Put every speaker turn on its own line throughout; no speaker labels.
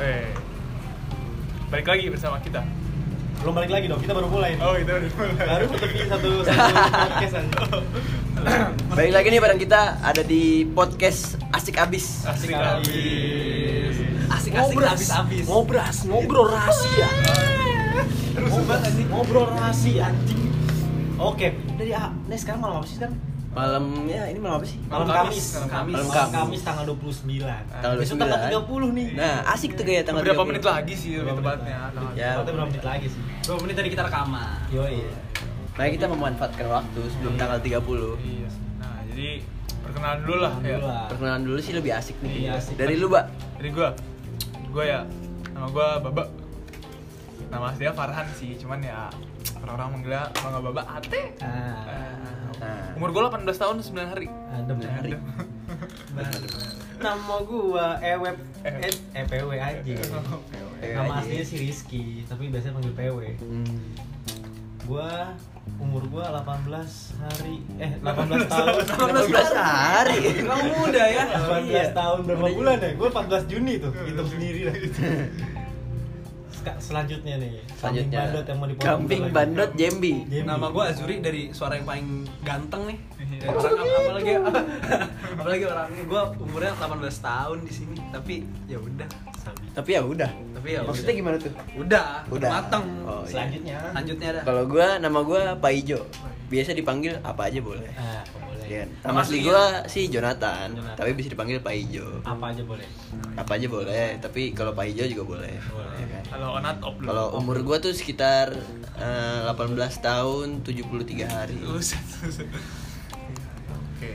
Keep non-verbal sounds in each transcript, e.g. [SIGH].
Eh, balik lagi bersama kita.
Belum balik lagi dong, kita baru mulai. nih.
Oh, itu udah mulai.
Baru berdiri satu [LAUGHS] satu podcast aja.
Balik lagi nih bareng kita ada di podcast Asik Abis.
Asik
lagi.
habis.
Asik
Ngobras, ngobras, ngobrol [LAUGHS] rahasia. Ngobras, ngobrol rahasia anjing. Oke, dari ah, nih sekarang malam apa sih sekarang?
Malamnya ini malam apa sih?
Malam
Malam
Kamis.
Kamis, malam
Malam
Kamis.
Kamis tanggal 29.
Tanggal
Besok tanggal
29.
30 nih.
Nah, asik tuh kayak tanggal
Berapa
30.
menit lagi sih lebih
Berapa menit
tepatnya? Iya.
lagi?
Ya.
Tepatnya berapa menit lagi sih?
dua menit tadi kita rekaman
Yo iya.
Nah, kita memanfaatkan waktu sebelum
Iya.
tanggal 30.
Iya. Nah, jadi perkenalan dulu lah ya.
Perkenalan dulu sih lebih asik nih.
Iya, asik.
Dari lu, Mbak.
Jadi gua gua ya nama gua Baba. Nama aslinya Farhan sih, cuman ya orang-orang manggilnya kalau nggak Baba Ate.
Ah.
Nah.
Eh, Umur gua 18 tahun 9 hari.
Adem ya,
[LAUGHS]
Hari.
Nama gua Eweb eh, EPW aja.
Eh,
Nama
aja.
aslinya si Rizky, tapi biasanya panggil PW.
Hmm.
Gua umur gua 18 hari eh
[LAUGHS]
18 tahun.
18 hari.
kamu muda ya
18 tahun berapa bulan ya? Gua 14 Juni tuh,
Iya,
hitung sendiri lah. Ska- selanjutnya nih,
Selanjutnya.
kambing bandot yang mau dipotong.
Kambing
lagi.
bandot Jambi.
Jambi.
nama gue Azuri dari suara yang paling ganteng nih
Iya,
dari orang ap- apalagi
ya?
apalagi orangnya gue umurnya 18 tahun di sini tapi ya udah
Sabi.
Tapi ya udah.
tapi ya
Maksudnya gimana tuh?
udah
Udah.
mateng
Oh, iya.
Selanjutnya.
lanjutnya ada
Kalau gua nama gua Pak Ijo. Biasa dipanggil apa aja boleh.
Ah, boleh.
Iya. Nama asli gua sih Jonathan,
Jonathan.
tapi bisa dipanggil Pak Ijo.
Apa aja boleh.
Apa aja boleh, tapi kalau Pak Ijo juga boleh.
Boleh.
Ya kan?
Kalau on top dulu.
Kalau umur gua tuh sekitar eh, 18 tahun 73 hari.
Buset, buset.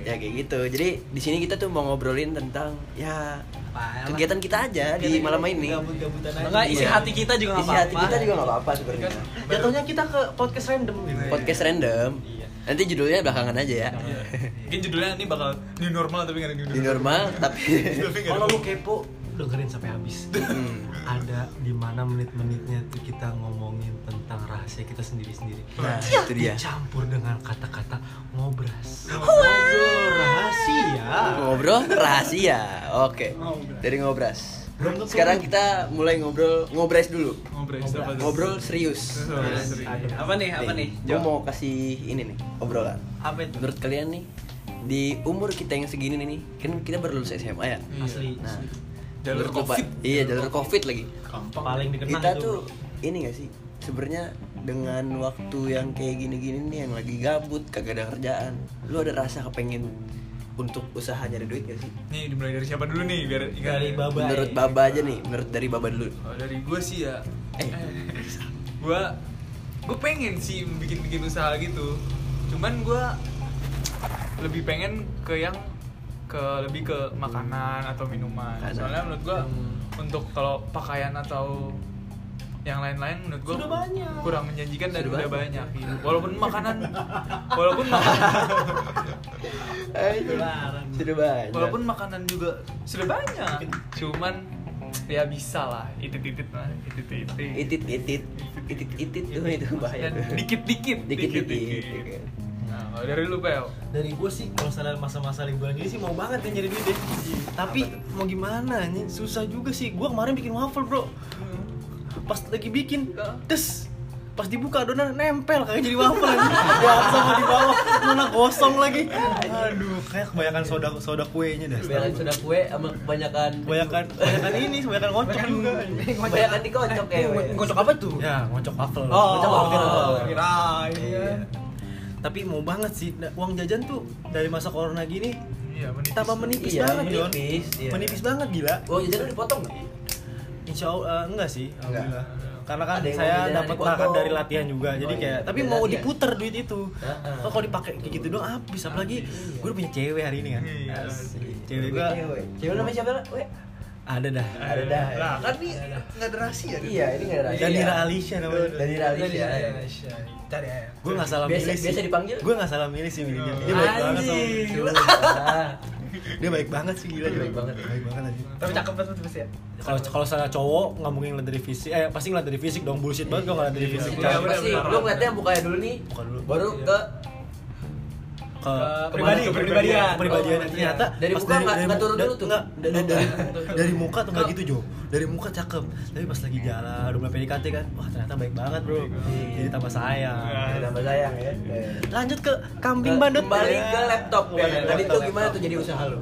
Ya
Oke.
kayak gitu. Jadi di sini kita tuh mau ngobrolin tentang ya
Apaan lah.
kegiatan kita aja di malam ini.
Gabut-gabutan aja.
Iya,
Kan
Enggak, isi
Iya.
hati kita juga nggak
Isi hati
apa-apa. Iya.
kita juga nggak apa-apa sebenarnya.
Jatuhnya kita ke podcast random gitu.
Podcast random.
Iya.
Nanti judulnya belakangan aja ya.
Iya. Mungkin judulnya ini bakal new normal tapi nggak ada new
[LAUGHS] Di normal tapi
Tapi
Iya.
nggak ada
Kalau lu kepo, Hmm. dengerin sampai [LAUGHS] habis.
Hmm.
Ada di mana menit-menitnya tuh kita ngomongin tentang rahasia kita sendiri-sendiri.
Nah,
Iya,
itu dia.
Dicampur dengan kata-kata ngobras. Ngobrol rahasia.
ngobrol rahasia. Oke. Dari ngobras.
Belum tentu.
Sekarang kita mulai ngobrol ngobres dulu.
ngobrol apa tuh?
Ngobrol serius.
Ngobrol serius.
apa nih apa nih
Gue mau kasih ini nih obrolan.
apa itu
Menurut kalian nih di umur kita yang segini nih, kan kita baru lulus SMA
Iya.
ya.
Asli.
Nah,
Jalur
menurut lu, Pak-
covid.
Iya, jalur covid lagi.
Paling dikenang
Kita
itu.
tuh ini gak sih? Sebenarnya dengan waktu yang kayak gini-gini nih yang lagi gabut, kagak ada kerjaan, lu ada rasa kepengen untuk usaha nyari duit gak sih?
Nih dimulai dari siapa dulu nih biar ingat.
Dari Baba.
Menurut
ya.
Baba aja nih, menurut dari Baba dulu.
Kalau dari gue sih ya.
Eh.
[LAUGHS] gue gue pengen sih bikin-bikin usaha gitu. Cuman gue lebih pengen ke yang ke lebih ke makanan atau minuman.
Makanan.
Soalnya menurut gue untuk kalau pakaian atau yang lain-lain menurut gue
Sudah banyak.
kurang menjanjikan dan
Sudah
udah banyak. iya. Walaupun makanan, walaupun makanan,
Dilarang.
Sudah banyak.
walaupun makanan juga sudah banyak. Cuman ya bisa lah, itit-itit lah, itit-itit.
itit itit itit itit tuh itu bahaya.
Dan
tuh.
dikit-dikit
Dikit-dikit.
nah kalau dari lu pel
dari gue sih kalau misalnya masa-masa liburan gini sih mau banget kan nyari duit ya tapi mau gimana nih susah juga sih gue kemarin bikin waffle bro pas lagi bikin tes pas dibuka adonan nempel kayak jadi waffle aja di atas sama di bawah mana gosong lagi aduh kayak kebanyakan soda soda kuenya dah
Kebanyakan soda kue sama kebanyakan
kebanyakan kebanyakan ini kebanyakan ngocok juga
kebanyakan dikocok ya. weh.
ngocok apa tuh
ya ngocok waffle
Oh, Ngocok waffle.
Oh,
iya
tapi mau banget sih Nah, uang jajan tuh dari masa corona gini
iya menipis
tambah menipis
Iya,
banget Jon.
menipis, iya.
menipis banget gila
Oh, jadi lu dipotong nggak?
Insya Allah eh, enggak sih, alhamdulillah. Karena kan
Ada yang
saya
mau jalan
dapat
dipotong.
makan dari latihan juga, jadi
Oh, iya.
kayak tapi
Dari
mau
latihan.
diputer duit itu.
Heeh. iya.
Kok kalau dipakai kayak gitu doang habis apalagi gue udah punya cewek hari ini kan.
Iya.
Cewek gua
Cewek namanya siapa lah? Weh.
ada dah.
Ada dah. ya.
lah kan nih nggak ada rahasia kan?
Iya, ini enggak ada.
Dan Dira Alisha namanya.
Dan Dira Alisha. Iya.
cari aja
Gue nggak salah
Biasa-
milih sih.
biasa dipanggil?
Gue nggak salah milih sih milihnya. Dia baik banget sama
Anjing.
cewek.
Ah,
[LAUGHS] Dia baik banget sih gila.
Baik
gila.
banget.
Baik banget anjing.
tapi cakep banget pasti ya
Kalau kalau salah cowok nggak mungkin ngeliat dari fisik, eh pasti ngeliat dari fisik dong bullshit banget
Iya,
gue ngeliat dari fisik.
Iya,
Pasti
bener, bener.
lu ngeliatnya mukanya dulu nih.
Buka dulu.
Baru ke
ke,
pribadi,
ke-
kepribadian.
kepribadian.
Oh, iya.
ternyata
Dari
pas
muka nggak- nggak turun dulu tuh?
nggak,
Dari-
dari,
dari- [LAUGHS]
dari muka tuh nggak gitu Jo dari muka cakep tapi pas lagi jalan udah mulai PDKT kan wah ternyata baik banget bro jadi tambah sayang
Ya, tambah sayang ya. Eh.
lanjut ke kambing bandut
Kembali ke laptop ya.
Kembali ke
Tadi tuh
laptop.
gimana tuh jadi usaha lu?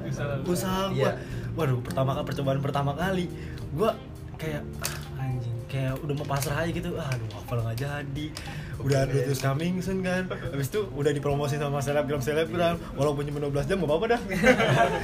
usaha
Iya.
gua waduh pertama kali percobaan pertama kali gua kayak ah, anjing kayak udah mau pasrah aja gitu ah, aduh hafal nggak jadi udah ada terus coming soon kan habis itu udah dipromosi sama selebgram selebgram walaupun cuma 12 jam gak apa-apa dah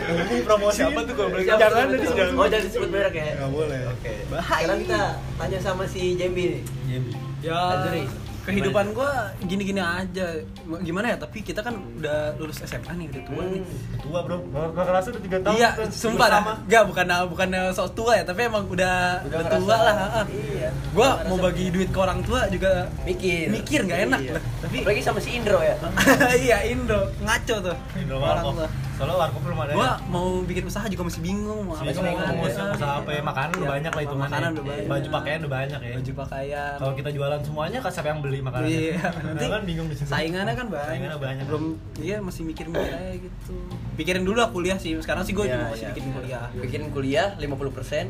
ini promosi
Siapa tuh kalau boleh?
jangan nanti jangan
Oh, jangan disebut merek ya.
nggak boleh
Oke.
bahaya
Sekarang kita tanya sama si Jambi nih.
iya,
ya
Azri,
kehidupan gua gini-gini aja gimana ya tapi kita kan udah lulus SMA nih udah tua
Hmm.
nih
tua bro nggak nggak kerasa udah 3 tahun
Iya,
kan?
sumpah dah.
Bersama.
Enggak, bukan bukan sok tua ya, tapi emang udah
Udah
udah
ngerasa-
tua lah. heeh.
iya.
Gua
Udah
mau
ngerasa-
bagi duit ke orang tua juga
Mikir.
Mikir nggak enak
Iya.
lah. Tapi-
apalagi sama si Indro ya.
[LAUGHS] iya Indo ngaco tuh.
Indo
orang
warkop.
tua.
Soalnya warkop belum ada.
Gua mau bikin usaha juga masih bingung mau
Bingung
sih
mau
mau
usaha
ada.
usaha apa ya? Makanan udah
Iya,
banyak lah itu
Makanan udah banyak.
Baju pakaian udah banyak ya.
Baju pakaian.
Kalau kita jualan semuanya kan siapa yang beli makanannya? [LAUGHS]
Iya,
Nah, kan bingung di situ.
Saingannya kan banyak.
Saingannya banyak.
Belum iya masih mikir-mikir aja gitu. Pikirin dulu lah kuliah sih. Sekarang sih gua
Iya,
juga masih
iya.
bikin kuliah.
Bikin kuliah 50%,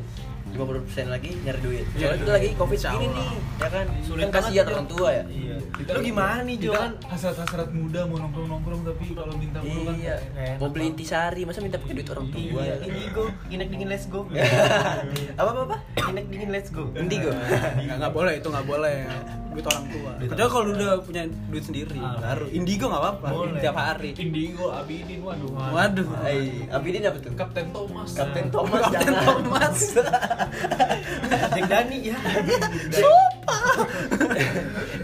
50% lagi nyari duit.
Iya,
Soalnya kita
iya.
lagi Covid
Insya
gini
Allah.
nih, ya kan?
Sulit
kan kasihan
banget,
orang tua ya.
Iya.
Lu gimana nih, Jo?
Kita kan hasrat-hasrat muda mau nongkrong-nongkrong tapi kalau minta mulu kan
Iya.
Kayak
Mau
enak
beli
banget.
intisari, masa minta pakai duit orang
Iya,
tua ya?
indigo, inek dingin let's go. [LAUGHS]
Apa apa apa?
Inek dingin let's go. [LAUGHS]
Indigo.
Nggak, nggak boleh itu nggak boleh duit orang tua. Kecuali kalau lu udah punya duit sendiri
Ah,
baru indigo nggak apa-apa
Boleh.
tiap hari.
Indigo, Abidin, waduh
Waduh.
Hai, Abidin apa tuh?
Kapten Thomas Nah.
Kapten Thomas
Eh, Kapten
jangan.
Thomas.
Jack Dani ya.
[LAUGHS]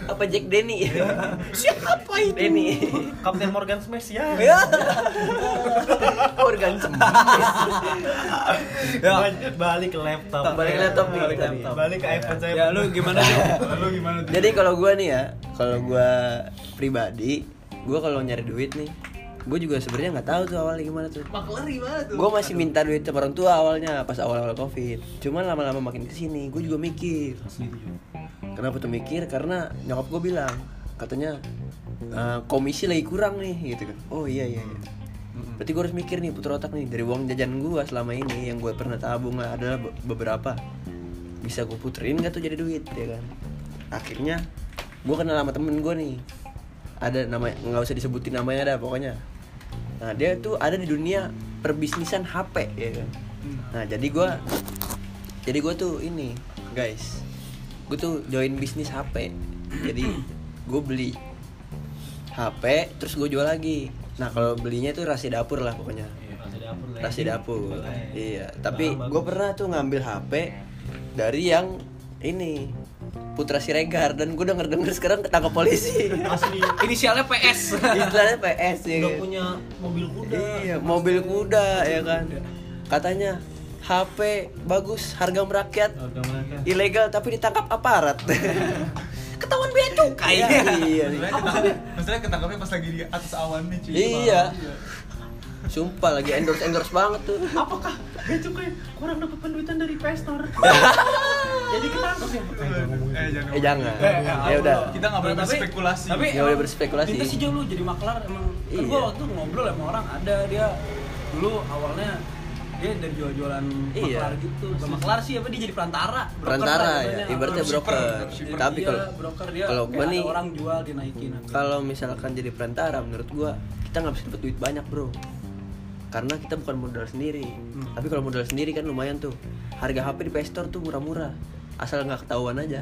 apa Jack Denny?
[LAUGHS] Siapa itu?
Denny.
Kapten Morgan Smash ya.
Ya.
Organ sembah.
Ya.
Balik ke laptop.
Balik ke laptop nih.
Balik ke laptop. Balik ke iPhone saya.
Ya lu gimana Jo?
Lalu gimana tuh?
Jadi kalau gua nih ya, kalau gua pribadi, gua kalau nyari duit nih, gua juga sebenarnya nggak tahu tuh awalnya gimana tuh.
makler gimana tuh?
Gue masih minta duit sama orang tua awalnya pas awal-awal covid. Cuman lama-lama makin kesini, gue juga mikir. Kenapa tuh mikir? Karena nyokap gue bilang katanya "Eh, komisi lagi kurang nih gitu kan. Oh iya iya. iya. Berarti gue harus mikir nih putar otak nih dari uang jajan gue selama ini yang gue pernah tabung lah adalah be- beberapa bisa gue puterin gak tuh jadi duit ya kan. Akhirnya gue kenal sama temen gue nih ada nama nggak usah disebutin namanya dah pokoknya Nah dia tuh ada di dunia perbisnisan HP ya kan.
Hmm.
Nah jadi gua jadi gua tuh ini guys, gue tuh join bisnis HP. Jadi gue beli HP terus gue jual lagi. Nah kalau belinya itu rasi dapur lah pokoknya.
Iya.
Rasi dapur. Iya. Tapi gue pernah tuh ngambil HP dari yang ini Putra Siregar dan gue denger denger sekarang ketangkep polisi.
[LAUGHS] Asli.
Inisialnya PS.
Istilahnya PS ya.
Udah
kan?
punya mobil kuda.
Iya, mobil kuda ya kan. Katanya HP bagus, harga merakyat,
Udah mana?
ilegal tapi ditangkap [LAUGHS] aparat.
Ketahuan bea cukai.
Iya, iya.
Masalahnya ketangkap- Masalahnya ketangkapnya pas lagi di atas awan nih cuy
[LAUGHS] Iya. Sumpah lagi endorse endorse banget tuh.
Apakah
Ah,
bea cukai kurang dapat penduitan dari investor? Jadi ketangkep ya?
Eh jangan
Eh jangan.
Eh, eh,
Ya
apa?
udah.
Kita nggak boleh berspekulasi
Tapi
Nggak boleh berspekulasi.
Itu sih Jo lu jadi maklar emang.
Iya.
Kan gua waktu ngobrol sama orang ada dia dulu awalnya dia dari jual-jualan
Iya.
maklar gitu. Bukan maklar sih apa dia jadi perantara. broker
Perantara
lah
ya,
jatuhnya.
ibaratnya
Dropshipper,
broker.
dropshipper.
Tapi
Iya,
kalau
broker dia
kalau gua
kayak
nih
ada orang jual dinaikin.
kalau misalkan jadi perantara menurut gua kita nggak bisa dapat duit banyak bro karena kita bukan modal sendiri tapi kalau modal sendiri kan lumayan tuh harga HP di Play Store tuh murah-murah asal nggak ketahuan aja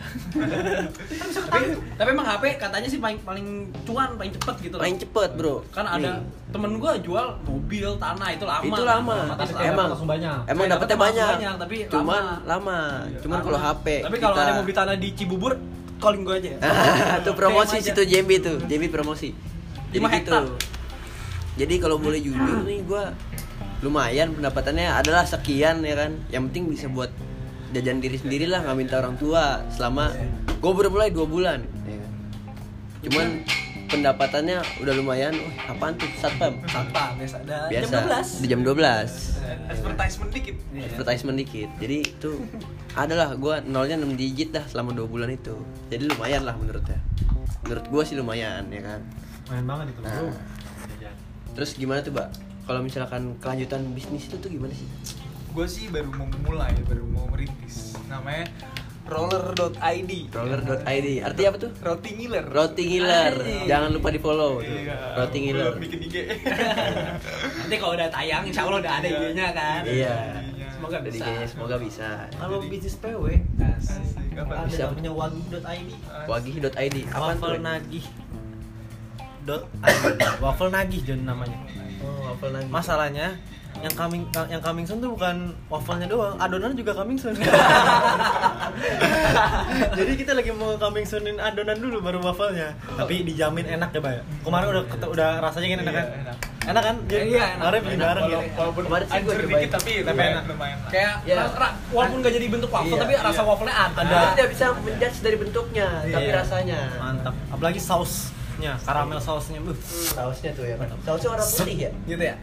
tapi, tapi emang HP katanya sih paling paling cuan paling cepet gitu loh.
main cepet bro
kan ada
Nih.
temen gua jual mobil tanah itu lama
itu lama
Tapi
Tapi
emang
langsung banyak.
emang
Iya,
dapetnya
dapetnya langsung
banyak,
banyak, tapi
cuman
lama. Iya,
lama, Iya. cuman
lama.
kalau HP
tapi kalau
kita-
ada mobil tanah di Cibubur calling gua aja ya
[LAUGHS] itu promosi
Kayak aja.
situ JB tuh JB promosi jadi
Lima
gitu
hektar.
jadi kalau boleh jujur nih gue lumayan pendapatannya adalah sekian ya kan yang penting bisa buat jajan diri sendiri lah nggak minta orang tua selama gue baru mulai dua bulan ya kan. cuman pendapatannya udah lumayan Wah, apaan tuh satpam
Satpam, biasa ada
biasa
jam 12
di jam 12
Advertisement dikit
Iya,
advertisement dikit jadi [LAUGHS] itu adalah gua nolnya 6 digit dah selama dua bulan itu jadi lumayan lah menurutnya menurut gua sih lumayan ya kan
Main banget itu bro.
Nah. Terus gimana tuh, Mbak? Kalau misalkan kelanjutan bisnis itu tuh gimana sih?
gue sih baru mau mulai baru mau merintis namanya roller.id
Roller.id. Artinya apa tuh?
roti ngiler
Roti Ngiler.
Anjing.
Jangan lupa di-follow tuh.
Iya.
Roti Ngiler.
Belum bikin
[LAUGHS]
IG
Nanti kalau udah tayang, insya Allah udah ada
Iya.
idenya kan.
Iya.
Iya.
Semoga
Jadi
bisa.
kayaknya semoga bisa.
Kalau
Jadi- Nah,
bisnis PW,
Asik, apa?
ada
Bisa.
namanya wagih.id.
Wagih.id. Apa tuh?
Waffle
Bang?
nagih. Dot [COUGHS] waffle nagih jadi namanya.
Oh, waffle nagih.
Masalahnya yang coming yang coming soon tuh bukan wafelnya doang, adonan juga coming soon. Jadi kita lagi mau coming soonin adonan dulu baru wafelnya. Tapi dijamin enak ya, Bay. Kemarin udah kete- udah rasanya kan enak
Iya,
kan?
enak.
Enak kan? Jadi
Iya, enak.
kemarin bikin
Enak.
bareng
Walau-
gitu.
walaupun
Kemarin sih gua
hancur
cobain.
dikit tapi tapi
Iya.
enak, lumayan lah.
Kayak
Iya.
ra- ra- walaupun gak jadi bentuk waffle
Iya,
tapi rasa
iya.
waffle-nya ada.
Ada.
Kita tidak bisa menjudge dari bentuknya, tapi
Iya.
rasanya.
Mantap. Apalagi sausnya, karamel sausnya. Buh.
Sausnya tuh ya. Sausnya warna putih ya.
Gitu ya.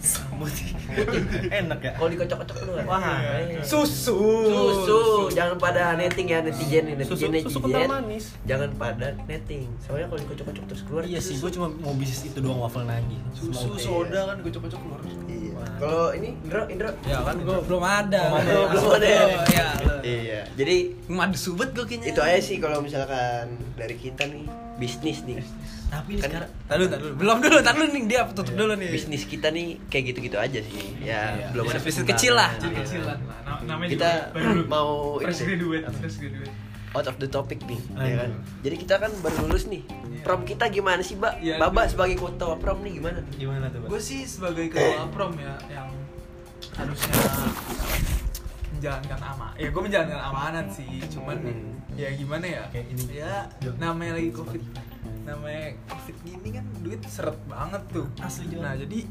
enak ya.
Kalau dikocok-kocok tuh kan.
Wah,
Eh.
susu
susu jangan pada netting ya netizen nih
Susu-
netizen
susu kental
netizen
manis.
jangan pada netting soalnya kalau dikocok-kocok terus keluar
Iya
itu
sih,
susu.
gue cuma mau bisnis itu doang waffle nagih.
susu
Semoga.
soda kan gue coba keluar
Iya. kalau ini Indro Indro
Ya kan gue belum ada.
Belum ada. Belum ada.
Iya. lo.
iya jadi
Madu subet gue kayaknya.
itu aja sih kalau misalkan dari kita nih bisnis nih
Tapi ini
Kan-
sekarang Tar dulu, tar dulu. Belum dulu, tar dulu nih dia tutup dulu nih.
Iya. bisnis kita nih kayak gitu-gitu aja sih ya belum ada
Bisnis- bisnis
perkembangan. Iya.
kecil lah.
jadi kecilan lah Na- namanya
Kita
juga baru-
mau ini
fresh
deh.
graduate
Apa?
fresh graduate
out of the topic nih ya
Aduh.
kan jadi kita kan baru lulus nih prom kita gimana sih mbak
Iya,
Baba sebagai ketua prom nih gimana
Gimana tuh, Bang?
gue sih sebagai
Eh.
ketua prom ya yang harusnya menjalankan amanat ya gue menjalankan amanat sih cuman
Hmm.
ya gimana ya
Kayak ini.
ya
Jom.
namanya lagi covid namanya covid gini kan duit seret banget tuh
Asli, Jom.
nah jadi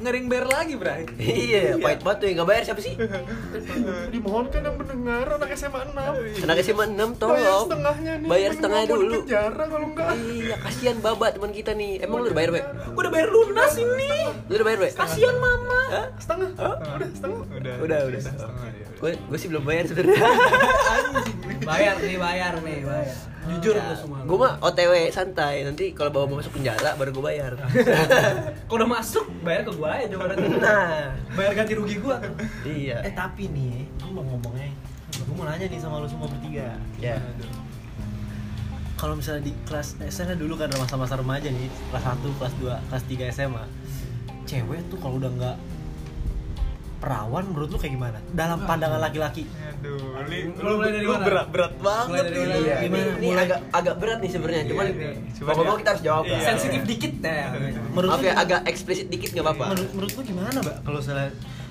ngering bayar lagi bray
[LAUGHS] iya pahit banget tuh yang nggak bayar siapa sih
dimohonkan yang mendengar anak SMA 6
Anak SMA 6 tolong Bayar setengahnya dulu Iya kasihan baba teman kita nih Emang lu udah bayar be? Gua udah bayar lunas ini Lu udah bayar be? Kasihan mama
setengah udah setengah
udah
Udah, udah.
setengah ya. dia, udah.
Gue gue sih belum bayar sebenernya
Bayar nih, bayar nih, bayar. Jujur lu semua.
Gue mah OTW santai Nanti kalau bawa mau masuk penjara baru gue bayar
Kalau udah masuk, bayar ke gua aja berarti.
Nah
Bayar ganti rugi gua.
eh
Iya
tapi nih gue mau ngomongnya gue mau nanya nih sama lu semua bertiga
Ya
kalau misalnya di kelas SMA dulu kan masa-masa remaja nih kelas 1, kelas 2, kelas 3 SMA cewek tuh kalau udah nggak perawan menurut lu kayak gimana dalam pandangan laki-laki
Aduh, li,
Lu mulai dari mana?
berat berat
Mulai
banget
dari
ini.
mana?
Iya, ini,
Gimana?
ini
Mulai.
agak agak berat nih sebenarnya, cuman
iya. Cuman
mau-mau
ya.
kita harus jawab. lah.
Iya.
Sensitif dikit nah. deh.
menurut
Maaf
lu
ya, agak eksplisit dikit nggak apa-apa.
menurut, menurut lu gimana mbak kalau misalnya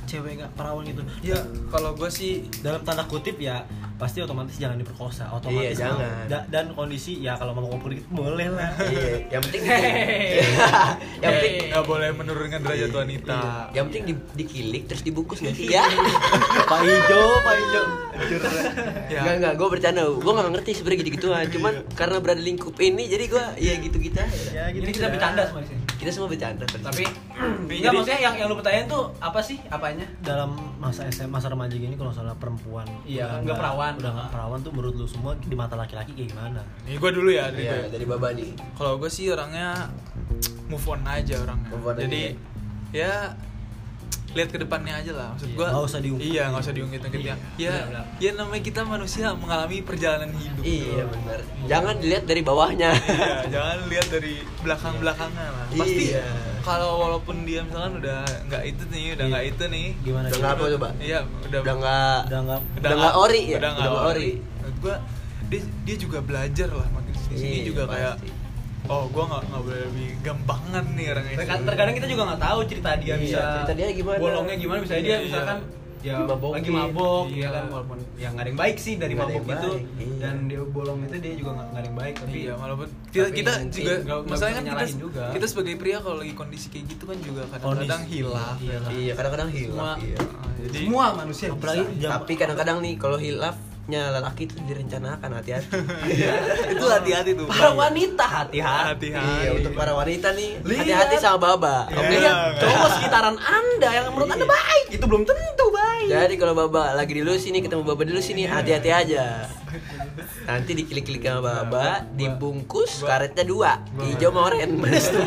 cewek nggak perawan gitu
Ya, kalau gue sih
dalam tanda kutip ya pasti otomatis jangan diperkosa otomatis
Iya, jangan.
Da- dan kondisi ya kalau mau ngumpul dikit boleh lah
Iya, yang penting
Hehehe.
[LAUGHS] yang penting Iya,
Hehehe.
Eh, nggak boleh menurunkan derajat wanita.
yang penting di, dikilik terus dibungkus nggak sih ya
pak ijo pak ijo
Ya.
[LAUGHS] nggak nggak gue bercanda gue nggak ngerti sebenarnya gitu gituan cuman karena berada di lingkup ini jadi gue ya gitu gitu aja
[LAUGHS] Ya, gitu
Ini kita
dah.
bercanda semua di sini.
kita semua bercanda kan
[CLEARS THROAT] Tapi enggak
Jadi-
maksudnya yang yang lu pertanyain tuh apa sih? Apanya?
dalam masa SMA masa remaja gini kalau soal perempuan
Iya,
udah
kan nggak perawan.
udah nggak perawan tuh menurut lu semua di mata laki-laki kayak gimana
Ini gue dulu ya, dari gua.
ya dari baba nih
Kalau gue sih orangnya move on aja orangnya.
Move on aja
Jadi ya lihat ke depannya aja lah maksud gue
Iya, nggak usah diungkit.
iya nggak usah diungkit ungkitnya
Iya,
ya
benar.
ya namanya kita manusia mengalami perjalanan hidup
iya benar jangan dilihat dari bawahnya
Iya, jangan lihat dari belakang belakangnya lah
[LAUGHS]
pasti
Iya.
kalau walaupun dia misalkan udah nggak itu nih udah nggak itu nih
gimana
udah
sih?
nggak apa coba
iya udah
udah nggak
udah nggak
Udah nggak ori ya?
udah nggak
Udah nggak
ori,
ori.
Menurut gua dia dia juga belajar lah makin sini sini
Iya,
juga kayak
pasti.
oh gua nggak nggak boleh lebih gampangan nih orang ini
Terkadang, terkadang kita juga nggak tahu cerita dia
Iya,
bisa
cerita dia gimana.
bolongnya gimana bisa dia
Iya.
misalkan ya
Dimabokin.
lagi mabok
Iya.
ya kan walaupun yang nggak ada yang baik sih dari
Nggak ada
mabok
yang
itu
baik, iya.
dan dia bolong itu dia juga nggak nggak ada yang baik tapi
iya walaupun kita
tapi
kita
nanti
juga
nggak- nggak
masalahnya
bisa
kan kita
nyalahin juga.
kita sebagai pria kalau lagi kondisi kayak gitu kan juga kadang-kadang
Kondisi.
hilaf
Iya.
ya kan?
iya kadang-kadang
semua
hilaf iya.
jadi
semua manusia
apalagi
bisa.
jam
tapi kadang-kadang nih kalau hilaf hidupnya lelaki itu direncanakan hati-hati.
Iya.
[LAUGHS] itu hati-hati tuh. Para wanita hati-hati.
Hati-hati.
Iya, untuk para wanita nih
Lihat.
hati-hati sama baba.
Iya.
Oke.
Lihat cowok sekitaran anda yang menurut
Iya.
anda baik itu belum tentu baik
Jadi kalau baba lagi di lu sini ketemu baba di lu sini hati-hati aja. Nanti dikilik-kilik sama baba, dibungkus karetnya dua, hijau sama oranye. Pedes tuh.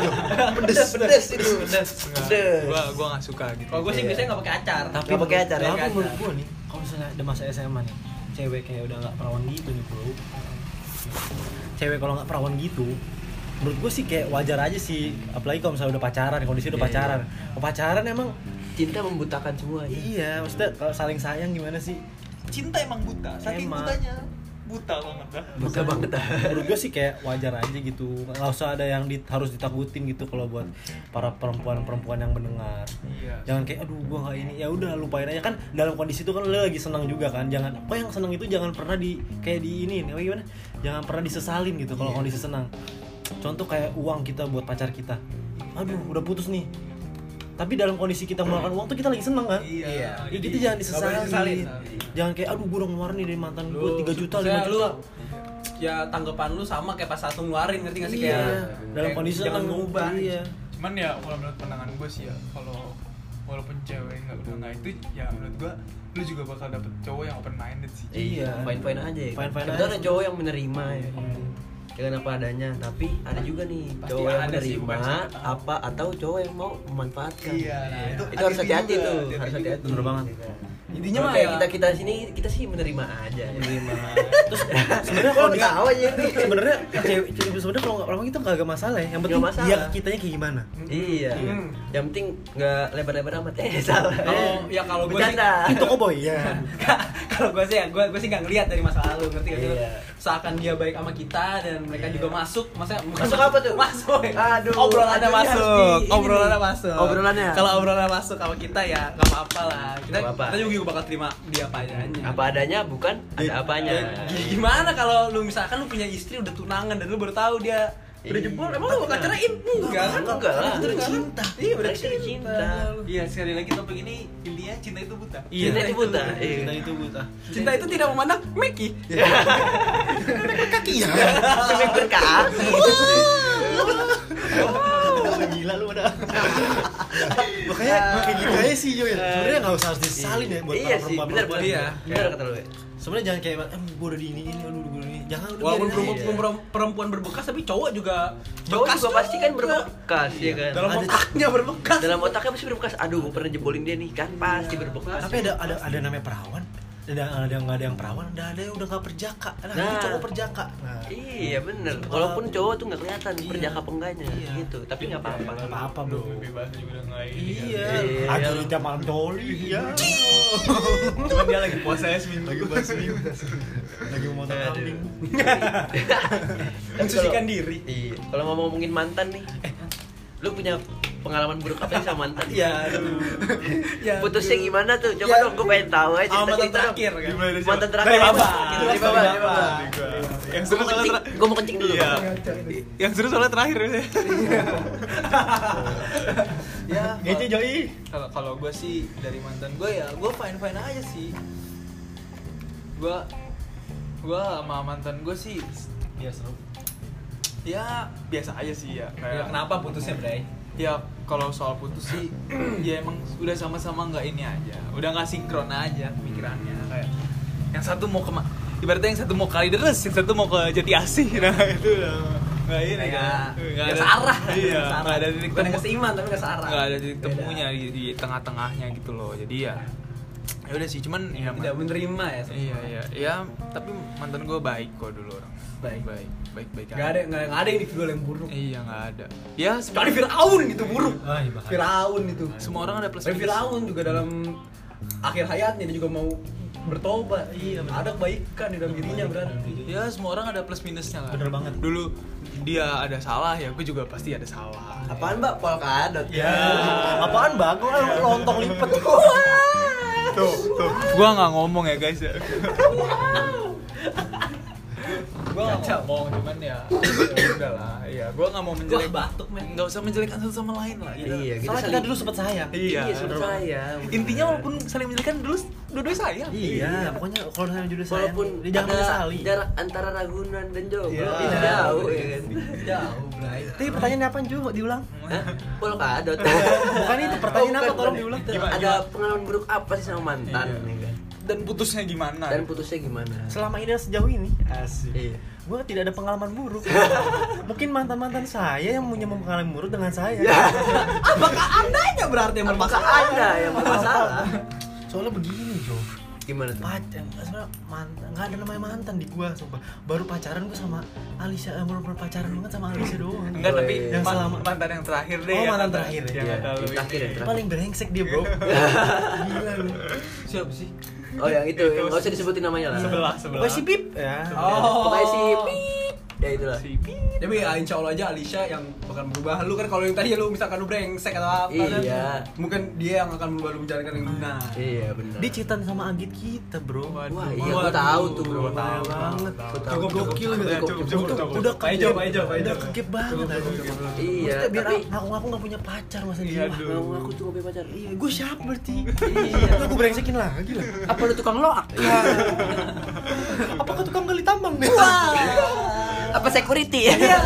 Pedes pedes itu. Pedes.
Gua gua nggak suka gitu.
kalau gue sih biasanya nggak pakai acar
Tapi pakai acar.
Nggak
Tapi
pakai
menurut
acar.
gue nih, kalau misalnya ada masa SMA nih, cewek kayak udah nggak perawan gitu nih bro. Cewek kalau nggak perawan gitu, menurut gue sih kayak wajar aja sih. Apalagi kalau misalnya udah pacaran, kondisi udah
Iya,
pacaran. Kalau Pacaran emang
Cinta membutakan semua. ya.
iya, maksudnya kalau saling sayang gimana sih?
Cinta emang buta, saking
Emang.
butanya. Buta banget dah.
Buta banget ah.
Gitu. menurut gue sih kayak wajar aja gitu nggak usah ada yang di- harus ditakutin gitu kalau buat para perempuan-perempuan yang mendengar
Iya.
jangan kayak aduh gue nggak ini ya udah lupain aja kan dalam kondisi itu kan lo lagi senang juga kan jangan apa yang senang itu jangan pernah di kayak di ini apa gimana jangan pernah disesalin gitu kalau kondisi senang contoh kayak uang kita buat pacar kita aduh udah putus nih tapi dalam kondisi kita mengeluarkan uang tuh kita lagi seneng kan
Iya.
Ya gitu jangan disesalin. Jangan kayak aduh gue udah ngeluarin nih dari mantan gue 3 juta, 5
Maksudnya
juta.
lu, ya tanggapan lu sama kayak pas satu ngeluarin ngerti nggak sih
Iya.
kayak
dalam
kayak
kondisi
jangan
seneng.
mengubah
Iya.
Cuman ya kalau menurut pandangan gue sih ya kalau walaupun cewek nggak udah nggak itu ya menurut gue lu juga bakal dapet cowok yang open minded sih.
Iya.
Fine-fine aja ya.
Fine-fine
Kebetulan
aja.
ada cowok yang menerima
Iya.
ya. Dengan apa adanya, tapi ada juga nih
Pasti
cowok yang
ada Iya, sih, bukan
menerima
siapa tahu.
apa atau cowok yang mau memanfaatkan. Iya.
nah,
Itu harus hati-hati tuh, harus hati-hati.
Bener banget.
Kalau
intinya mah
kayak
ya
kita kita sini kita sih menerima aja. ya. Menerima.
[LAUGHS]
Terus sebenarnya kalau di-
ketawa
ya?
aja nih.
sebenarnya cewek cewek- sebenarnya kalau nggak lama itu nggak ada masalah ya. Yang penting
Nggak masalah.
dia ke kitanya kayak gimana.
Iya.
Hmm.
Yang penting nggak lebar-lebar amat. Eh [LAUGHS] salah.
Kalau- ya kalau gua sih-
Bercanda.
Itu koboi ya.
[LAUGHS] kalau gue sih ya gue sih nggak ngelihat dari masa lalu ngerti nggak sih lu?
Iya.
seakan dia baik sama kita dan mereka juga masuk maksudnya bukan
Masuk apa tuh?
masuk
Aduh, aduh,
obrolannya
ini harus
masuk
di- ini
obrolannya
nih.
masuk
Obrolannya.
kalau obrolannya masuk sama kita ya nggak apa-apa lah kita
Nggak apa-apa.
kita juga bakal terima dia apa adanya
Apa adanya bukan ada apanya.
Gi- gimana kalau lu misalkan lu punya istri udah tunangan dan lu baru tahu dia udah
Iya.
jebol emang lu bakal
Enggak.
ceraiin enggak kan
Enggak lah.
Karena udah cinta iya udah
Karena udah
cinta
cinta.
Iya sekali lagi topik ini intinya cinta itu buta.
Iya.
Cinta itu buta. Iya.
Kita itu buta. Iya.
cinta itu tidak memandang Meki
Kaki ya.
Iya. Lebih berkaki.
[LAUGHS]
Gila lu pada. Makanya kayak gitu aja sih Joy. Sebenarnya nggak usah harus disalin ya buat
Ah. Iya
para
sih, benar buat
perempuan.
Iya.
dia. Benar kata lu. ya.
Sebenarnya jangan kayak em gue udah di ini ini aduh gue ini. Jangan udah
Walaupun
biarin
perempuan,
aja.
perempuan- perempuan berbekas tapi cowok juga
Cowok
bekas
juga pasti kan berbekas ya kan.
Dalam
Ada-
[LAUGHS]
otaknya berbekas.
Dalam otaknya pasti berbekas. Aduh, gue pernah jebolin dia nih kan pasti berbekas.
tapi ada ada ada namanya perawan ada ada nggak ada yang perawan ada ada yang udah nggak perjaka nah, itu
Nah.
cowok perjaka nah,
Iya bener, walaupun cowok tuh nggak kelihatan
Iya.
perjaka pengganya
Iya.
gitu, tapi nggak apa-apa.
Iya,
nggak apa apa bro
Bebas juga nggak
iya
kan.
Iya.
akhirnya zaman doli [LAUGHS] ya
Iya. Cuman dia lagi puasanya seminggu. Lagi puasa seminggu.
lagi mau motor
Aduh.
kambing
Tapi
Mensucikan
kalau-
diri.
Iya. Kalau mau ngomongin mantan nih, lu punya pengalaman buruk apa sih sama mantan?
Iya,
Ya, aduh. Ya,
Putusnya
aduh.
gimana tuh? Coba
Ya,
dong, gue pengen tahu aja.
Sama mantan
cerita-cerita dong.
terakhir kan.
Gimana, coba?
Mantan terakhir. Gitu,
Dari Baba.
Dari Baba.
Dari Baba.
Yang
Gue
seru soalnya
mau kencing,
terakhir.
gue mau kencing dulu. Iya.
Iya. Yang seru soalnya terakhir.
[LAUGHS]
Ya,
[LAUGHS]
Gitu,
ngece joi
Kalau kalau gue sih dari mantan gue ya gue fine fine aja sih. Gue gue sama mantan gue sih
Iya,
ya seru
ya biasa aja sih ya.
Ya,
Kayak
kenapa putusnya, Bray?
ya kalau soal putus sih [CLEARS THROAT] ya emang udah sama-sama nggak ini aja udah nggak sinkron aja pemikirannya kayak yang satu mau ke ibaratnya yang satu mau kali deres yang satu mau ke jati asih [LAUGHS] nah itu udah nggak ini
Kayak
kan. Nggak
ya
ada-
searah.
[LAUGHS] iya
Searah.
nggak ada titik
Bukan yang
temu
keseiman tapi nggak searah.
nggak ada titik
Beda.
temunya di, di tengah-tengahnya gitu loh jadi ya ya udah sih cuman ya
Tidak
man-
menerima ya. semua.
iya iya ya tapi mantan gue baik kok dulu orang
Baik.
baik baik baik
Nggak ada nggak nggak ada yang dijual yang buruk.
iya nggak ada ya
Kecuali
sebenarnya
Firaun itu buruk.
Ah, iya, bahaya.
Firaun itu.
semua orang ada plus
Tapi Firaun juga dalam akhir hayatnya dia juga mau bertobat. Iya, ada kebaikan di dalam dirinya berarti.
Ya semua orang ada plus minusnya kan.
Bener banget.
Dulu dia ada salah ya, gue juga pasti ada salah.
Apaan mbak? Polkadot.
Ya.
apaan bang Gua
Iya.
lontong
[LAUGHS]
lipet
Tuh, tuh. Gua nggak ngomong ya guys ya. gue nggak mau ngomong cuman ya ya udah lah iya gue nggak mau menjelek
Wah, batuk, men.
nggak usah menjelekkan satu sama lain lah gitu.
Iya, kita
Soalnya kita
saling-
dulu sempat sayang.
Iya,
Iya, sumber saya.
intinya walaupun saling menjelekkan dulu dua-duanya saya
Iya, pokoknya kalau saya judul sayang,
walaupun
dia jangan
ada
menyesali.
jarak antara Ragunan dan Jombang
Iya.
itu [LAUGHS] jauh ya kan.
Jauh, Bray.
Tapi pertanyaannya apa juga diulang?
[LAUGHS]
Hah? Kalau kadot.
Bukan itu, pertanyaan apa? Tolong diulang.
Iya.
Gimana,
Ada pengalaman buruk apa sih sama mantan?
Iya. Nah.
ya kan?
dan putusnya gimana
Dan putusnya gimana?
Selama ini dan sejauh ini,
Asik.
Iya.
gue tidak ada pengalaman
[LAUGHS]
buruk. Mungkin mantan-mantan saya yang punya pengalaman buruk dengan saya.
Iya. Apakah andanya berarti yang
Apakah
bermasalah?
ada yang bermasalah?
Soalnya begini, Jo.
Gimana tuh?
Pacar, sebenarnya mantan, nggak ada namanya mantan di gua, sumpah. Baru pacaran gua sama Alicia, eh, baru pacaran banget sama Alicia doang.
enggak tapi
Boleh.
Yang
man-
selama-
mantan yang terakhir deh
Oh,
yang
mantan
kata-
terakhir ya.
yang
Iya,
kata lu
yang
ini.
terakhir, yang terakhir.
Paling brengsek dia, bro.
Iya.
Gila lu.
siapa sih
Oh yang itu, yang nggak usah disebutin namanya lah.
sebelah sebelah
Pokoknya si Pip. Ya.
Oh.
Pokoknya si Pip. Ya itulah.
Si Pi.
Tapi ya, insya Allah aja Alisha yang akan berubah Lu kan kalau yang tadi lu misalkan lu brengsek atau apa kan
Iya.
Mungkin dia yang akan berubah lu menjalankan yang benar
Iya Eh, ya, benar.
Oh.
Dia cetan sama Agit kita, bro.
Wah iya, gua tahu tuh bro.
Gua tahu
banget.
Gua tahu.
Cukup gokil gitu
Ya, cukup, cukup,
Udah,
cukup.
udah
Pak Ijo, Pak Ijo, Pak Ijo.
Udah kegep banget Agit.
Iya,
Maksudnya biar
tapi
aku aku nggak punya pacar masa
Iya,
dia.
aduh.
kalau aku tuh gak punya pacar.
Iya, gue siapa berarti?
Iya.
Lu gue brengsekin lagi lah.
Apa lu tukang loak?
Apakah tukang gali tambang deh?
Apa security? Iya. nah,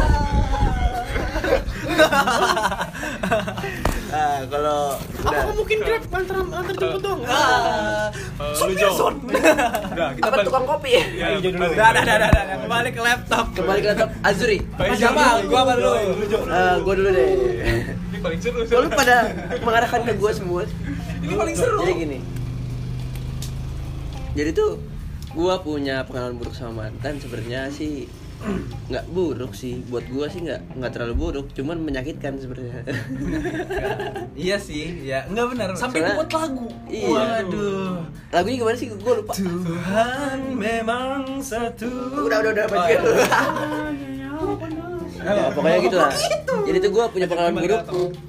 Ah, kalau
Apakah mungkin grab
Iya.
antar antar jemput dong?
Eh, lu Jo. Udah, kita
apa
balik.
tukang kopi?
Ya,
Ijo dulu.
balik.
Udah, udah, udah, udah, udah. kembali ke laptop
Kembali ke laptop Azuri.
Pak Ijo
Eh, Siapa?
dulu.
Gua apa lu?
Eh, gua dulu deh.
Ini paling seru.
Kalau lu pada mengarahkan ke gua semua.
Ini paling seru.
Jadi gini. Jadi tuh gua punya pengalaman buruk sama mantan sebenarnya sih nggak buruk sih buat gua sih nggak nggak terlalu buruk cuman menyakitkan sebenarnya
Iya sih, ya enggak benar
Sampai
Soalnya-
buat lagu.
Iya.
Waduh.
lagunya gimana sih gua lupa
Tuhan memang satu
udah udah udah
Oh,
apa
iya.
juga tuh?
Ah.
ya, pokoknya gitu lah jadi tuh gue punya pengalaman buruk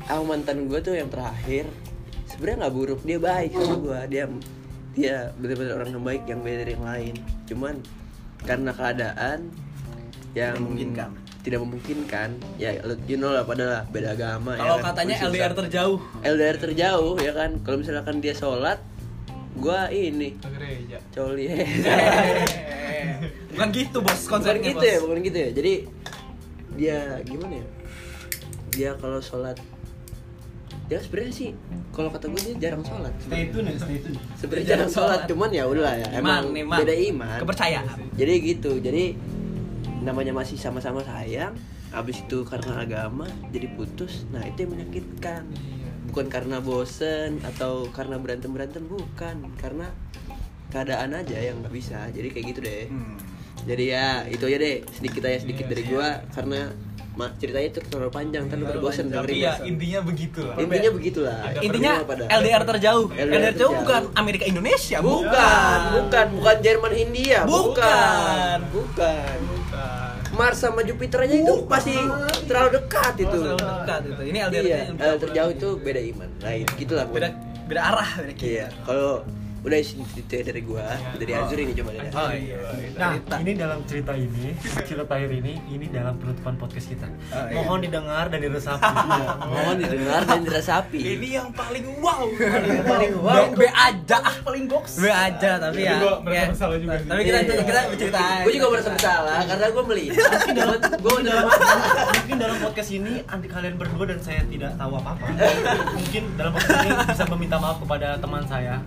sama mantan gue tuh yang terakhir sebenarnya nggak buruk dia baik sama gue dia dia benar-benar orang yang baik yang beda dari yang lain cuman karena keadaan yang
Tidak memungkinkan.
tidak memungkinkan ya lu- you know lah padahal lah, beda agama ya
Kalau
kan?
katanya
Susah.
LDR terjauh
LDR terjauh ya kan kalau misalkan dia sholat gue ini
Ke gereja.
coli
[LAUGHS] Bukan gitu bos,
bukan
konsepnya
gitu
bos
ya bukan gitu ya jadi dia gimana ya dia kalau sholat dia sebenarnya sih kalau kata gue dia jarang sholat sebenarnya.
ya,
nih, stay tune.
sebenarnya
Nah, Dia
jarang
jarang
sholat
sholat.
cuman ya udahlah ya
Iman,
emang
iman.
beda iman
Kepercayaan
jadi gitu jadi namanya masih sama-sama sayang habis itu karena agama jadi putus nah itu yang menyakitkan bukan karena bosen atau karena berantem berantem bukan karena keadaan aja yang nggak bisa jadi kayak gitu
Hmm.
deh jadi ya itu aja deh sedikit aja sedikit
Iya,
dari gua karena ma- ceritanya itu terlalu panjang kan udah bosen
Tapi
dengerin
Iya,
ya intinya begitulah.
intinya begitulah
ya? Intinya
Intinya pada-
LDR terjauh
LDR
LDR terjauh
terjauh.
bukan Amerika Indonesia
bukan bukan bukan Jerman India
Bukan.
bukan Mars sama Jupiter aja itu pasti terlalu dekat itu
Oh, Terlalu dekat itu. Ini LDR
iya
yang
eh, terjauh itu beda iman nah itu gitulah Bu.
beda beda arah beda
iya
kiri.
kalau udah isi itu ya dari gua dari Azur ini coba deh
Iya. Oh
Nah,
iya.
ini dalam cerita ini, cerita terakhir ini, ini dalam penutupan podcast kita.
Ah, iya.
Mohon didengar dan diresapi.
mohon didengar dan dirasapi
Ini yang paling wow.
[LAUGHS]
Paling
Be, be aja ah.
paling goks.
Be aja
Tapi
tapi ya.
gua merasa
ya.
bersalah juga sih.
Tapi kita kita bercerita.
gue Iya, juga merasa bersalah karena gue
[LAUGHS]
melihat gue
Mungkin dalam, mungkin dalam podcast ini anti kalian berdua dan saya tidak tahu apa-apa. Mungkin dalam podcast ini bisa meminta maaf kepada teman saya.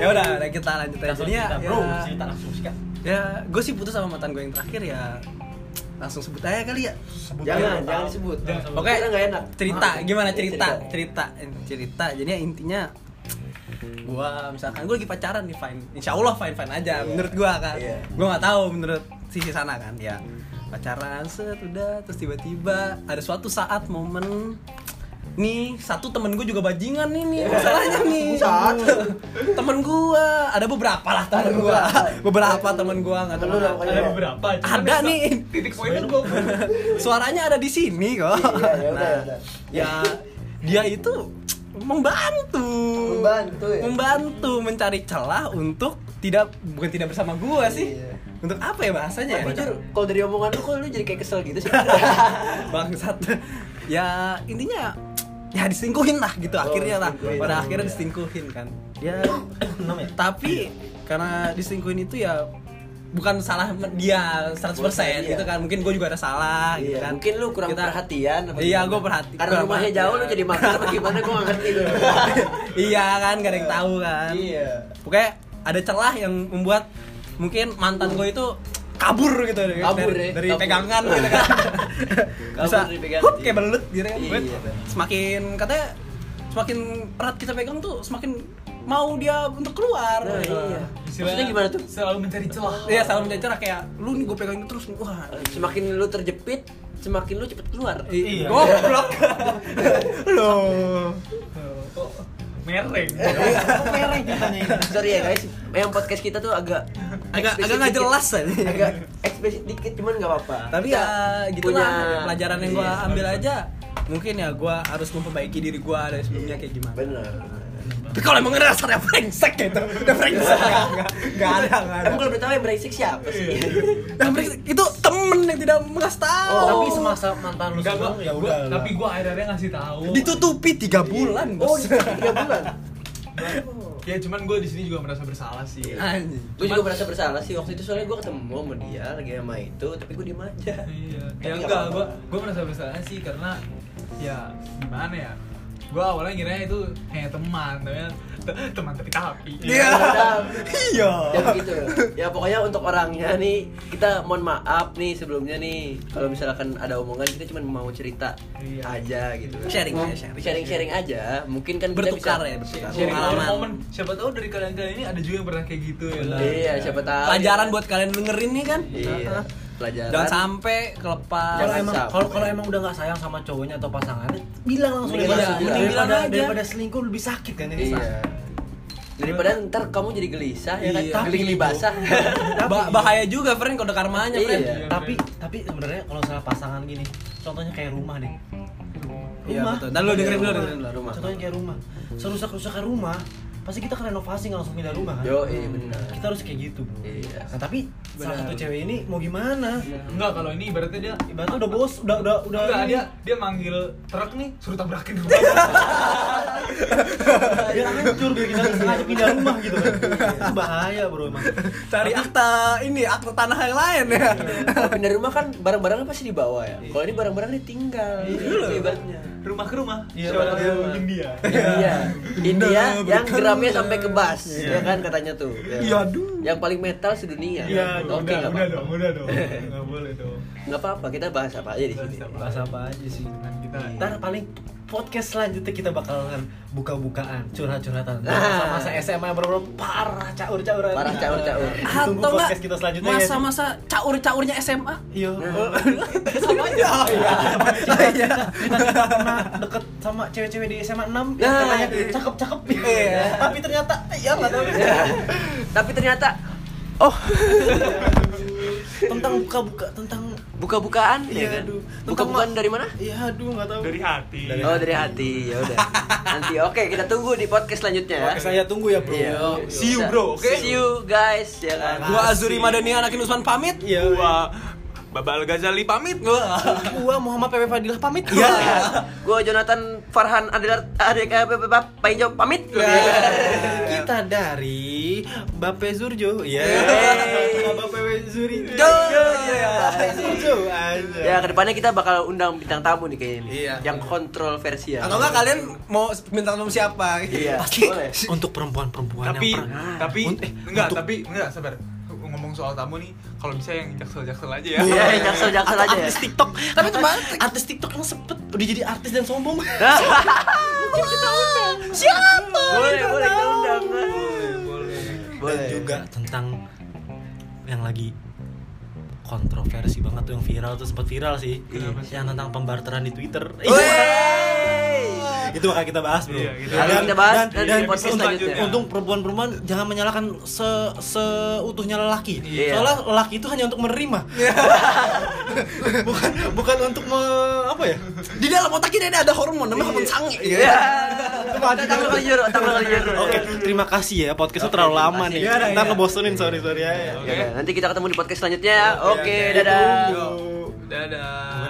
Ya udah kita lanjut aja.
Langsung
Jadinya
cerita,
ya,
bro, cerita langsung sikat.
ya gue sih putus sama mantan gue yang terakhir ya langsung sebut aja kali ya
jangan jangan disebut
Oke,
Karena nggak enak Iya,
cerita
Ah,
gimana cerita cerita eh, cerita jadinya intinya gua misalkan gua lagi pacaran nih fine insya Allah fine fine aja menurut gua kan
Iya.
gua nggak tahu menurut sisi sana kan ya pacaran set udah terus tiba-tiba ada suatu saat momen nih satu temen gue juga bajingan nih nih masalahnya nih satu temen gue ada beberapa lah temen gue beberapa temen gue nggak tahu
Temen lu
Ada beberapa. iya. cuman
Iya. ada
yang
nih
[LAUGHS] Titik poinnya gua.
suaranya ada di sini
Iya,
kok.
ya udah,
nah,
ya udah.
ya dia itu membantu,
Membantu ya? Iya.
membantu mencari celah untuk tidak bukan tidak bersama gua sih, Untuk apa ya bahasanya ya?
Tapi jujur, kalau dari omongan lu kok lu jadi kayak kesel gitu sih?
[LAUGHS] Iya. Bangsat. Ya intinya ya diselingkuhin lah
Oh,
gitu akhirnya lah.
diselingkuhin.
Pada akhirnya diselingkuhin kan. Ya tapi karena diselingkuhin itu ya bukan salah dia 100%
Iya.
gitu kan. Mungkin gue juga ada salah gitu
Iya,
kan.
mungkin lu kurang
Kita-
perhatian apa
Iya,
gimana?
gue perhati.
Karena
kurang
rumahnya jauh lu
perhatian.
jadi makar apa gimana gua gak ngerti
[LAUGHS]
lu
iya kan gak ada yang tahu kan
Iya.
pokoknya ada celah yang membuat mungkin mantan gue itu kabur gitu dari,
Kabur,
dari,
ya.
dari
Kabur.
pegangan gitu kan
Kabur
[LAUGHS] bisa
dari pegangan.
hup, kayak belut gitu kan
Iya.
Bet. semakin katanya semakin erat kita pegang tuh semakin mau dia untuk keluar
Nah, iya.
Sila-
Maksudnya gimana tuh? Oh.
Selalu mencari celah.
Iya, selalu mencari celah kayak lu nih gue pegangin terus nih, wah
Semakin lu terjepit, semakin lu cepet keluar
Iya. Goblok. Loh.
Kok mereng.
mereng katanya ini.
Sorry ya guys, yang podcast kita tuh agak
Agak
eksplisit
agak nggak
dikit.
jelas aja.
Agak eksplisit dikit, cuman gak apa-apa
tapi ya gitu
punya-
lah pelajaran yang gua
Iya.
ambil aja mungkin ya gua harus memperbaiki diri gua dari sebelumnya kayak gimana
Bener
tapi kalau emang dasarnya brengsek gitu udah brengsek nggak nggak ada nggak ada
Emang kalau beritahu yang berisik siapa sih?
Iya.
[LAUGHS]
Yang Nah, brengsek itu temen yang tidak mengasih tahu
Oh, tapi semasa mantan lu
Enggak gua,
sebelum ya
gua-
udah.
tapi gua akhirnya ngasih tahu.
ditutupi tiga bulan
Oh,
bos [LAUGHS]
tiga bulan?
Ya cuman gua di sini juga merasa bersalah sih.
Anjing.
Gue juga merasa bersalah sih waktu itu soalnya gue ketemu sama dia lagi sama itu, tapi gue diem aja.
Iya.
Tapi
Ya
nggak
enggak,
apa-apa.
gua gua merasa bersalah sih karena ya gimana ya? Gua awalnya ngira itu kayak teman, tapi kan te- teman tapi tapi.
Iya. iya
Ya begitu. Ya pokoknya untuk orangnya nih kita mohon maaf nih sebelumnya nih kalau misalkan ada omongan kita cuma mau cerita
Iya.
aja gitu.
Sharing aja, sharing.
Sharing-sharing aja. Mungkin kan kita
bertukar
bisa-
ya bertukar
Sharing
pengalaman
momen. Siapa tahu dari kalian kalian ini ada juga yang pernah kayak gitu ya. lah.
Iya, siapa tahu.
pelajaran buat kalian dengerin nih kan
Iya. Pelajaran.
jangan sampai kelepas
kalau
Jangan
emang
sampai.
kalau kalau emang udah nggak sayang sama cowoknya atau pasangannya bilang langsung
Mending
ya.
langsung bilang.
daripada,
Bilang aja.
daripada selingkuh lebih sakit kan ini
Iya. Daripada ntar kamu jadi gelisah ya kan,
Iya. Tapi
geli-geli basah.
Ba- bahaya juga friend kalau udah karmanya friend
Iya.
tapi tapi sebenarnya kalau salah pasangan gini contohnya kayak rumah deh
Iya, betul. Dan lu dengerin dulu, dengerin dulu, rumah.
contohnya kayak rumah serusak rusakan rumah pasti kita kan renovasi nggak langsung pindah rumah kan
Yo, iya benar.
kita harus kayak gitu bro
Iya.
nah, tapi salah
Benar.
satu cewek ini mau gimana
Enggak, kalau ini ibaratnya dia
ibaratnya udah bos udah udah udah
Enggak,
ini.
dia dia manggil truk nih, suruh tabrakin rumah.
biar hancur biar kita sengaja pindah rumah gitu kan Itu bahaya bro emang
cari akta ini akta tanah yang lain ya
Kalau pindah rumah kan barang-barangnya pasti dibawa ya.
Iya.
Kalau ini barang-barangnya ditinggal. Gitu ibaratnya.
rumah ke rumah.
Iya,
Siapa
rumah ke
tahu
rumah.
India.
Iya. India yang
berkah.
geramnya sampai ke bas, ya kan katanya tuh. ya
Iya,
kan?
aduh.
Yang paling metal sedunia.
Iya, udah,
Oke, nggak
udah
apa-apa.
dong, udah dong. Enggak boleh dong.
Nggak apa-apa, kita bahas apa aja di
Bahas
sini.
apa.
bahas apa aja sih
Kan kita
ntar paling podcast selanjutnya kita bakalan buka-bukaan curhat-curhatan
Nah.
masa SMA yang bener parah caur-cauran
Parah caur-caur.
atau
atau enggak
podcast kita selanjutnya ya.
masa-masa caur-caurnya SMA
iya
Nah.
sama aja iya
kita pernah deket sama cewek-cewek di SMA 6 yang
Nah,
katanya
iya.
cakep-cakep
Iya.
tapi ternyata ya nggak tahu
Ya. Tapi ternyata
tentang buka-buka tentang
buka-bukaan
Iya,
ya kan.
aduh.
Buka-bukaan dari mana?
iya aduh nggak tahu
dari hati.
Oh, dari hati. Ya udah. Nanti oke, kita tunggu di podcast selanjutnya ya.
saya tunggu ya bro
Iya.
See you, bro, oke?
See you guys, ya kan.
gua Azuri Madani anakin Usman pamit
Iya.
Gua Babal Ghazali pamit.
Gua-
gua Muhammad PP Fadilah pamit
Iya. Gue Jonathan Farhan Adilar Adik eh, Pak- Pak- Pak Injo pamit.
kita dari Bape Zurjo ya
Yeay.
Bape Zuri
Yo, yo, yo.
Zurjo aja
Ya kedepannya kita bakal undang bintang tamu nih kayaknya nih.
Iya.
Yang kontrol versi ya.
atau enggak kalian mau minta nomor siapa
Iya.
Pasti.
Boleh.
untuk perempuan-perempuan
tapi
yang pernah
tapi
Unt- eh,
enggak,
untuk-
tapi enggak sabar. Ngomong soal tamu nih, kalau bisa yang jaksel-jaksel aja ya.
Iya, yang jaksel-jaksel
atau
aja ya.
artis TikTok
Tapi itu banget.
artis TikTok yang sepet udah jadi artis dan sombong
siapa
Boleh, boleh kita undang. kan?
Boleh.
Boleh.
dan juga tentang yang lagi kontroversi banget tuh yang viral tuh sempat viral sih
Kenapa sih?
yang tentang pembarteran di Twitter
Iya. Wey.
itu bakal kita bahas bro
Iya, gitu.
Akan kita bahas
dan,
nanti di
dan
podcast
untuk-
selanjutnya.
untuk perempuan-perempuan jangan menyalahkan se seutuhnya lelaki
Iya.
soalnya lelaki itu hanya untuk menerima [LAUGHS] bukan bukan untuk me, apa ya Iya.
di dalam otak ini ada hormon namanya hormon sange
Iya. Tampil kali jur, tampil kali jur.
Oke, terima kasih ya podcastnya terlalu lama nih.
Iya,
Ntar
iya.
ngebosenin sorry sorry ya.
Oke.
Ya udah, nanti kita ketemu di podcast selanjutnya. Oke,
Oke,
dadah.
ditunggu.
Dadah.